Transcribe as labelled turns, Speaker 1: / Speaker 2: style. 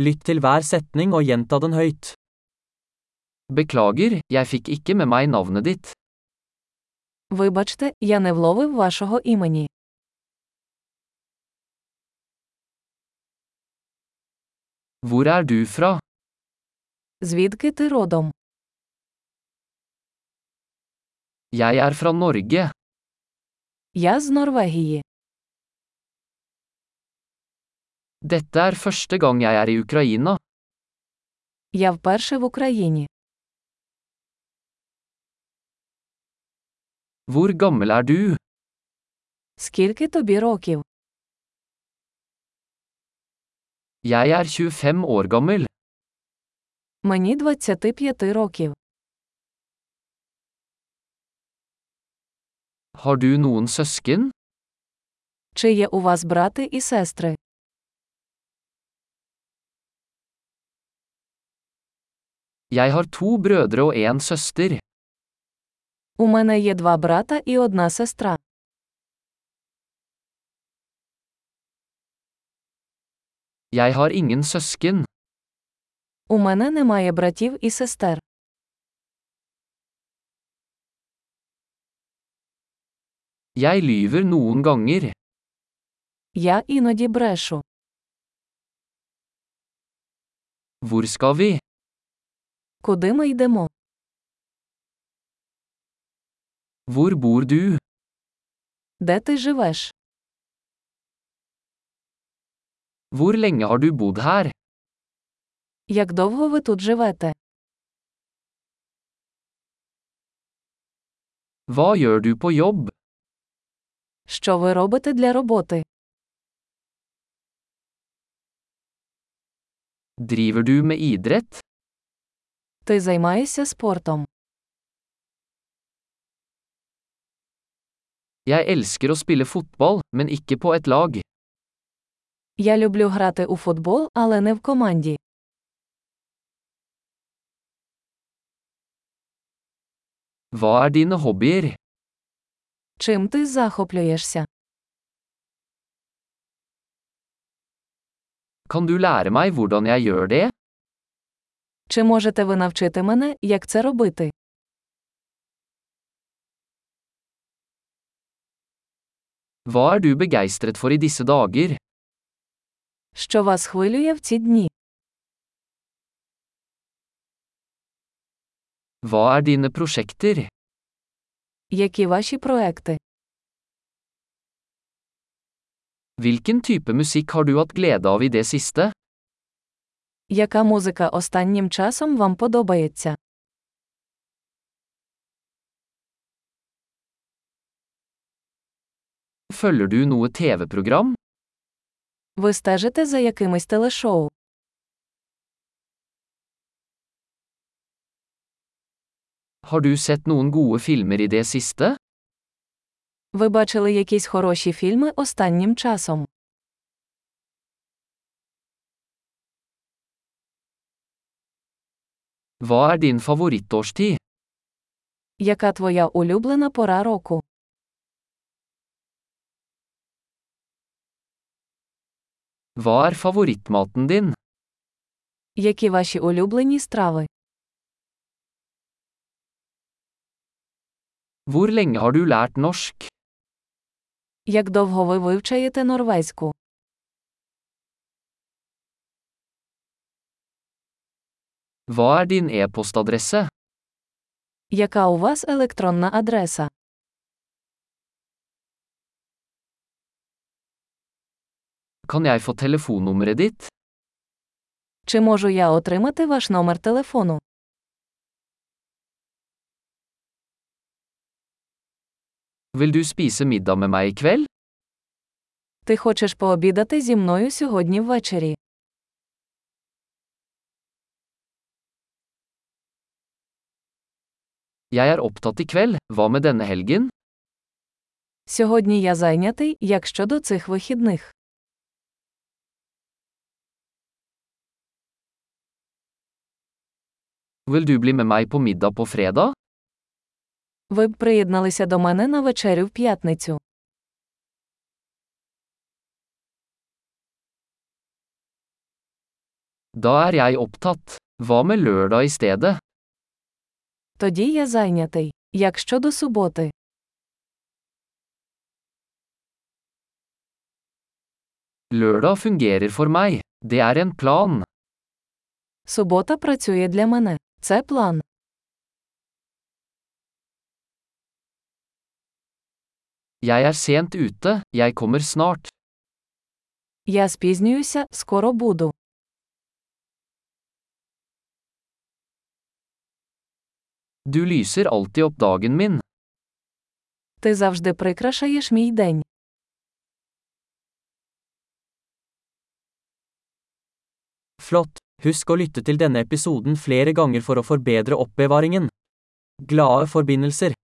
Speaker 1: Lytt til hver setning og gjenta den høyt. Beklager, jeg fikk ikke med meg navnet ditt.
Speaker 2: Вибачте, я не вловив вашого імені.
Speaker 1: Hvor er du fra?
Speaker 2: Звідки ти родом?
Speaker 1: Jeg er fra Norge.
Speaker 2: Я з Норвегії.
Speaker 1: Dette er første gang jeg er i Ukraina.
Speaker 2: Я вперше в Україні.
Speaker 1: Hvor gammel er du?
Speaker 2: Скільки тобі років?
Speaker 1: Jeg er 25 år gammel.
Speaker 2: Мені 25 років.
Speaker 1: Har du noen søsken?
Speaker 2: Чи є у вас брати і сестри?
Speaker 1: Jeg har to brødre og en søster.
Speaker 2: У мене є два брата і одна сестра.
Speaker 1: Jeg har ingen søsken.
Speaker 2: У мене немає братів і сестер.
Speaker 1: Jeg lyver noen ganger.
Speaker 2: Я іноді брешу.
Speaker 1: Hvor skal vi?
Speaker 2: Куди ми йдемо?
Speaker 1: Hvor bor du?
Speaker 2: Де ти живеш?
Speaker 1: Hvor lenge har du bodd her?
Speaker 2: Як довго ви тут живете?
Speaker 1: Hva gjør du på jobb?
Speaker 2: Що ви робите для роботи?
Speaker 1: Driver du med idrett?
Speaker 2: Ти займаєшся спортом.
Speaker 1: Jeg elsker å spille fotball, men ikke på et lag.
Speaker 2: Я люблю грати у футбол, але не в команді.
Speaker 1: Hva er dine hobbyer?
Speaker 2: Чим ти захоплюєшся?
Speaker 1: Kan du lære meg hvordan jeg gjør det?
Speaker 2: Чи можете ви навчити мене, як це робити?
Speaker 1: Hva er du begeistret for i disse dager?
Speaker 2: Що вас хвилює в ці дні?
Speaker 1: Hva er dine prosjekter?
Speaker 2: Які ваші проекти?
Speaker 1: Hvilken type musikk har du hatt glede av i det siste?
Speaker 2: Яка музика останнім часом вам подобається?
Speaker 1: Følger du noe TV-program?
Speaker 2: Ви стежите за якимись телешоу?
Speaker 1: Har du sett noen gode filmer i det siste?
Speaker 2: Ви бачили якісь хороші фільми останнім часом?
Speaker 1: Hva er din favorittårstid?
Speaker 2: Яка твоя улюблена пора року?
Speaker 1: Hva er favorittmaten din?
Speaker 2: Які ваші улюблені страви?
Speaker 1: Hvor lenge har du lært norsk?
Speaker 2: Як довго ви вивчаєте норвезьку?
Speaker 1: Hva er din e-postadresse?
Speaker 2: Яка у вас електронна адреса?
Speaker 1: Kan jeg få telefonnummeret ditt?
Speaker 2: Чи можу я отримати ваш номер телефону?
Speaker 1: Vil du spise middag med meg i kveld?
Speaker 2: Ти хочеш пообідати зі мною сьогодні ввечері?
Speaker 1: Jeg er opptatt i kveld, hva med denne helgen?
Speaker 2: Сьогодні я зайнятий, як щодо цих вихідних.
Speaker 1: Vil du bli med meg på middag på fredag?
Speaker 2: Ви б приєдналися до мене на вечерю в п'ятницю.
Speaker 1: Da er jeg opptatt. Hva med lørdag i stedet?
Speaker 2: Тоді я зайнятий. Як щодо суботи?
Speaker 1: Lørdag fungerer for meg. Det er en plan.
Speaker 2: Субота працює для мене. Це план.
Speaker 1: Jeg er sent ute, jeg kommer snart.
Speaker 2: Я спізнююся, скоро буду.
Speaker 1: Du lyser alltid opp dagen min.
Speaker 2: Ти завжди прикрашаєш мій день.
Speaker 3: Flott! Husk å lytte til denne episoden flere ganger for å forbedre oppbevaringen. Glade forbindelser!